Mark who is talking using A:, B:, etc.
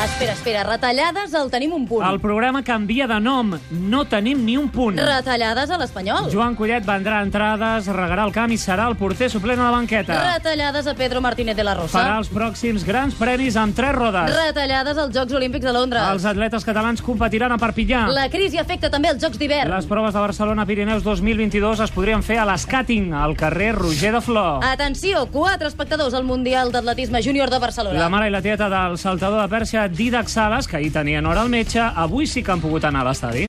A: Ah, Espera, espera, retallades el tenim un punt.
B: El programa canvia de nom. No tenim ni un punt.
A: Retallades a l'Espanyol.
B: Joan Collet vendrà entrades, regarà el camp i serà el porter suplent a la banqueta.
A: Retallades a Pedro Martínez de la Rosa.
B: Farà els pròxims grans premis amb tres rodes.
A: Retallades als Jocs Olímpics de Londres.
B: Els atletes catalans competiran a Perpinyà.
A: La crisi afecta també els Jocs d'hivern.
B: Les proves de Barcelona Pirineus 2022 es podrien fer a l'escàting, al carrer Roger de Flor.
A: Ah, Atenció, quatre espectadors al Mundial d'Atletisme Júnior de Barcelona.
B: La mare i la tieta del saltador de Pèrsia, Didac Sales, que ahir tenien hora al metge, avui sí que han pogut anar a l'estadi.